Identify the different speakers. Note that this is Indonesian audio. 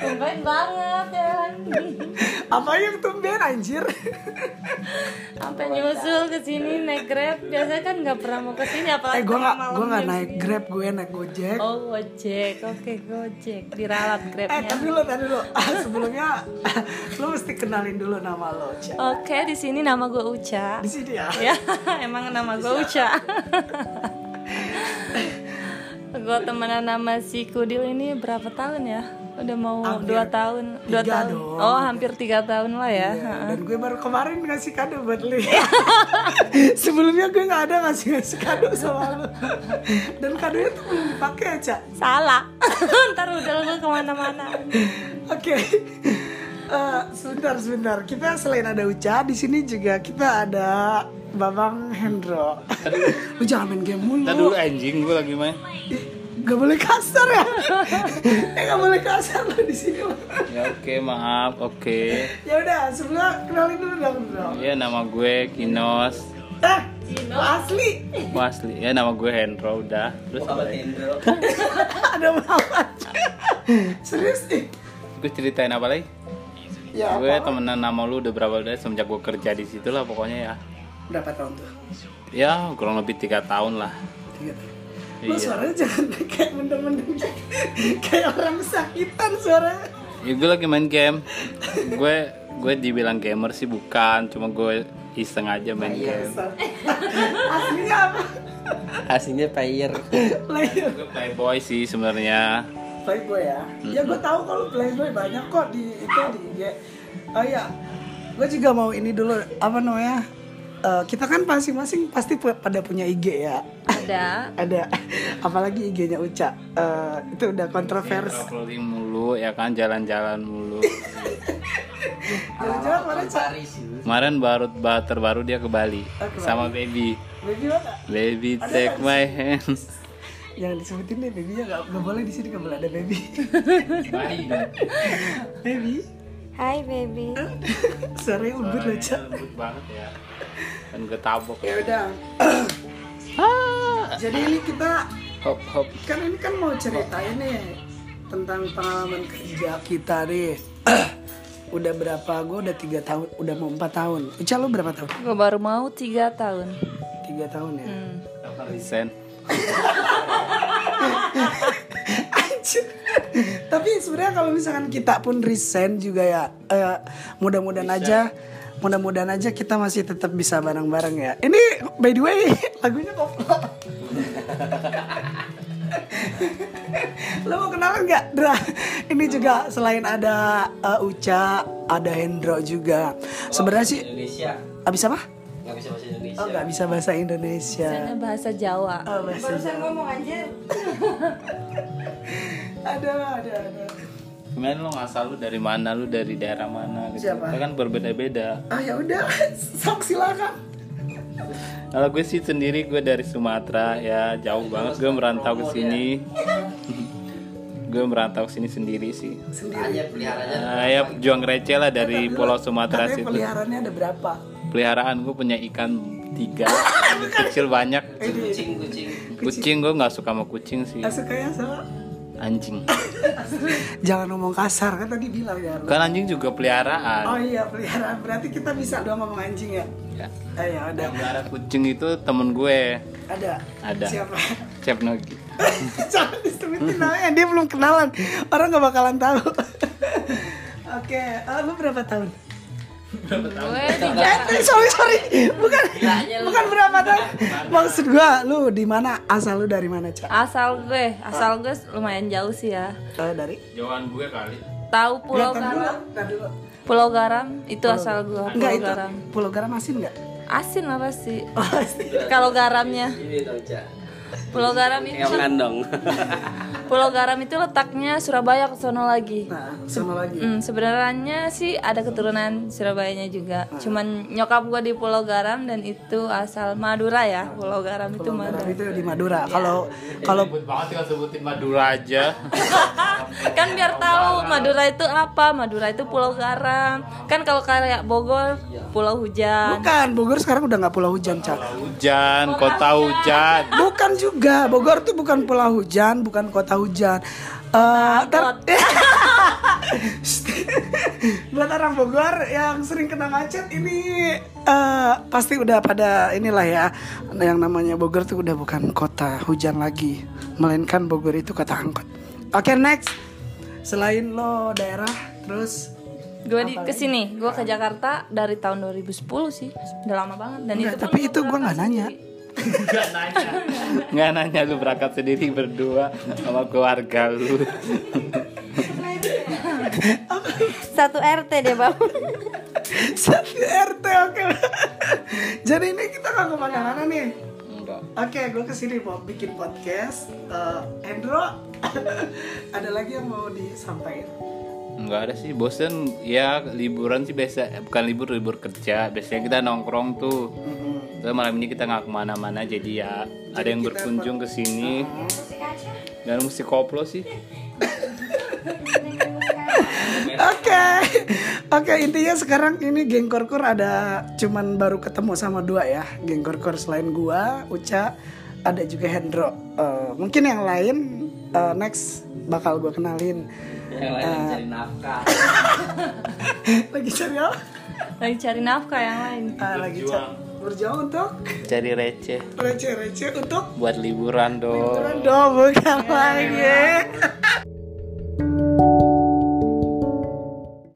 Speaker 1: Tumben banget ya kan.
Speaker 2: Apa yang tumben anjir?
Speaker 1: Sampai nyusul ke sini naik Grab. Biasanya kan nggak pernah mau ke sini apalagi
Speaker 2: eh gue
Speaker 1: tengah
Speaker 2: gak
Speaker 1: malam
Speaker 2: gue gak
Speaker 1: jam
Speaker 2: naik
Speaker 1: segini.
Speaker 2: grab gue naik gojek.
Speaker 1: Oh, Gojek. Oke, Gojek. Diralat
Speaker 2: eh
Speaker 1: Grabnya.
Speaker 2: tapi lo tadi lo sebelumnya lo mesti kenalin dulu nama lo. Ca.
Speaker 1: Oke, di sini nama gue Uca.
Speaker 2: Di sini ya.
Speaker 1: ya emang nama gue Uca gue temenan sama si Kudil ini berapa tahun ya udah mau
Speaker 2: Hampir
Speaker 1: dua tahun dua
Speaker 2: tiga
Speaker 1: tahun
Speaker 2: dong. Iya.
Speaker 1: oh hampir tiga tahun lah ya
Speaker 2: Dan gue baru kemarin ngasih kado buat lo. Sebelumnya gue nggak ada ngasih ngasih kado sama lo. Dan kadonya tuh belum dipakai ya, aja.
Speaker 1: salah ntar udah gue kemana-mana
Speaker 2: Oke. Eh, sebentar sebentar. Kita selain ada Uca, di sini juga kita ada Babang Hendro. Lu jangan main game mulu.
Speaker 3: Ntar dulu anjing gue lagi main.
Speaker 2: Gak boleh kasar ya. ya gak boleh kasar lo di sini. lo.
Speaker 3: Ya oke maaf oke.
Speaker 2: Ya udah, sebelumnya kenalin dulu dong, Bro.
Speaker 3: Ya nama gue Kinos.
Speaker 2: Eh, lo asli.
Speaker 3: Wah asli ya nama gue Hendro udah. Terus apa lagi?
Speaker 2: ada Muhammad. Serius nih.
Speaker 3: Terus ceritain apa lagi?
Speaker 2: Ya,
Speaker 3: gue
Speaker 2: apa?
Speaker 3: temenan nama lu udah berapa udah semenjak gue kerja di situ lah pokoknya ya.
Speaker 2: berapa tahun tuh?
Speaker 3: Ya kurang lebih tiga tahun lah.
Speaker 2: Tiga tahun. Lo
Speaker 3: Iya.
Speaker 2: suaranya jangan kayak mendem-mendem gitu. kayak orang sakitan suaranya.
Speaker 3: Ya gue lagi main game. gue gue dibilang gamer sih bukan, cuma gue iseng aja main game.
Speaker 2: Aslinya apa?
Speaker 4: aslinya player
Speaker 2: Player.
Speaker 3: Gue playboy sih sebenarnya.
Speaker 2: Playboy ya. Ya gue tahu kalau Playboy banyak kok di itu di IG. Oh iya, gue juga mau ini dulu apa namanya? Eh, kita kan masing-masing pasti pu- pada punya IG ya.
Speaker 1: ada
Speaker 2: Ada apalagi IG-nya Uca. Eh, itu udah kontroversi.
Speaker 3: Traveling mulu ya kan jalan-jalan mulu.
Speaker 2: Jalan-jalan mana Ca?
Speaker 3: Kemarin baru ba- terbaru dia Oh, ke Bali sama baby.
Speaker 2: Baby mana?
Speaker 3: Baby take my hand.
Speaker 2: Jangan disebutin deh babynya nggak nggak boleh di sini nggak boleh ada baby. baby,
Speaker 1: Hai baby
Speaker 2: suaranya lembut loh Ca.
Speaker 3: Lembut banget ya. Kan gue tabok.
Speaker 2: Ya udah. Jadi ini kita
Speaker 3: Hop hop.
Speaker 2: kan ini kan mau ceritain nih tentang pengalaman kerja kita nih udah berapa gue udah tiga tahun udah mau empat tahun Uca lo berapa tahun
Speaker 1: gue baru mau tiga tahun
Speaker 2: tiga tahun ya
Speaker 3: Resign.
Speaker 2: Anjir. tapi sebenarnya kalau misalkan kita pun resign juga ya eh, mudah-mudahan aja mudah-mudahan aja kita masih tetap bisa bareng-bareng ya ini by the way lagunya kok lo mau kenalan nggak Dra ini juga selain ada eh, Uca ada Hendro juga sebenarnya sih
Speaker 4: Indonesia
Speaker 2: abis apa
Speaker 4: nggak bisa bahasa Indonesia
Speaker 2: oh nggak bisa bahasa Indonesia
Speaker 1: Karena bahasa Jawa
Speaker 2: Oh, bahasa
Speaker 1: ngomong anjir
Speaker 2: ada ada ada
Speaker 3: Kemarin lo ngasal lu dari mana lu dari daerah mana gitu.
Speaker 2: Siapa?
Speaker 3: Kita kan berbeda-beda.
Speaker 2: ah ya udah sok silakan
Speaker 3: Kalau gue sih sendiri gue dari Sumatera ya jauh banget gue merantau ke sini. gue merantau ke sini sendiri sih.
Speaker 4: hanya peliharaannya
Speaker 3: Nah, ya juang receh lah dari Pulau Sumatera
Speaker 2: Tapi
Speaker 3: situ.
Speaker 2: peliharaannya ada berapa?
Speaker 3: Peliharaan gue punya ikan tiga, kecil banyak.
Speaker 4: kucing kucing
Speaker 3: Kucing gue nggak suka sama kucing sih,
Speaker 2: Asal kayak Eh, sama
Speaker 3: anjing.
Speaker 2: Jangan ngomong kasar kan tadi bilang ya. Arlo.
Speaker 3: Kan anjing juga
Speaker 2: Oh
Speaker 3: peliharaan.
Speaker 2: iya peliharaan berarti kita bisa doang ngomong anjing ya.
Speaker 3: Ya.
Speaker 2: Ah, ya ada.
Speaker 3: Pelihara kucing itu temen gue,
Speaker 2: Ada.
Speaker 3: Ada.
Speaker 2: Siapa?
Speaker 3: Chef Nogi.
Speaker 2: Jangan disebutin namanya dia belum kenalan. Orang nggak bakalan tahu. Oke, ah, lu berapa tahun?
Speaker 1: gue
Speaker 2: Eh, sorry sorry, bukan
Speaker 1: Iya,
Speaker 2: bukan
Speaker 1: kan
Speaker 2: berapa tahun. Maksud gua, lu di mana? Asal lu dari mana cak?
Speaker 1: asal gue asal gue lumayan jauh sih ya
Speaker 2: Tahu dari?
Speaker 3: Jawaban gue kali.
Speaker 1: tahu Pulau
Speaker 2: Ntar dulu,
Speaker 1: Garam
Speaker 2: ntar dulu.
Speaker 1: Pulau Garam itu asal gue
Speaker 2: Enggak
Speaker 1: Pulau
Speaker 2: itu.
Speaker 1: Garam
Speaker 2: Pulau Garam asin nggak?
Speaker 1: asin lah pasti
Speaker 2: Oh, asin.
Speaker 1: kalau garamnya
Speaker 4: ini Iya dong cak
Speaker 1: Pulau Garam itu
Speaker 4: keongan dong
Speaker 1: Pulau Garam itu letaknya Surabaya ke sono lagi.
Speaker 2: Nah, sama lagi.
Speaker 1: Hmm, sebenarnya sih ada keturunan Surabayanya juga. Cuman nyokap gua di Pulau Garam dan itu asal Madura ya. Pulau Garam itu
Speaker 2: Madura
Speaker 1: Madura.
Speaker 2: itu di Madura. Kalau kalau
Speaker 3: Ribut banget tinggal sebutin Madura aja.
Speaker 1: Kan biar tahu Madura itu apa? Madura itu Pulau Garam. Kan kalau kayak Bogor,
Speaker 2: Iya.
Speaker 1: Pulau Hujan.
Speaker 2: bukan Bogor sekarang udah nggak pulau hujan, Cak.
Speaker 3: Hujan, kota hujan.
Speaker 2: Bukan juga. Bogor tuh bukan pulau hujan, bukan kota hujan. Eh, tar- Buat orang Bogor yang sering kena macet ini eh, pasti udah pada inilah ya yang namanya Bogor tuh udah bukan kota hujan lagi, melainkan Bogor itu kota angkot. Oke next, selain lo daerah terus
Speaker 1: Gue di kesini, gue ke Jakarta dari tahun 2010 sih, udah lama banget. Dan
Speaker 2: Enggak,
Speaker 1: itu pun
Speaker 2: tapi
Speaker 1: gua
Speaker 2: itu gua
Speaker 1: berangkat
Speaker 2: nggak nanya.
Speaker 1: sendiri.
Speaker 3: Nggak nanya lu berangkat sendiri berdua sama keluarga lu.
Speaker 5: Satu RT deh bang.
Speaker 2: Satu RT oke. Jadi ini kita nggak kemana-mana nih. Oke, gue kesini mau bikin podcast. Eh, Hendro, ada lagi yang mau disampaikan?
Speaker 3: Nggak ada sih, bosen ya liburan sih biasa, bukan libur libur kerja. Biasanya kita nongkrong tuh. Terus malam ini kita nggak kemana-mana, Mm-hmm. jadi Mm-hmm. ya ada yang berkunjung ke sini. Dan musik koplo sih.
Speaker 2: Oke, oke intinya sekarang ini geng korkor ada cuman baru ketemu sama dua ya, geng korkor selain gua, Uca, ada juga Hendro. Eh, mungkin yang lain eh, next bakal gue kenalin
Speaker 4: Yang lain lagi cari nafkah.
Speaker 2: lagi cari apa?
Speaker 1: Lagi cari nafkah yang lain.
Speaker 2: Ah, lagi cari berjuang untuk
Speaker 3: Cari receh
Speaker 2: receh-receh untuk
Speaker 3: buat liburan dong.
Speaker 2: Liburan dong, bukan lagi.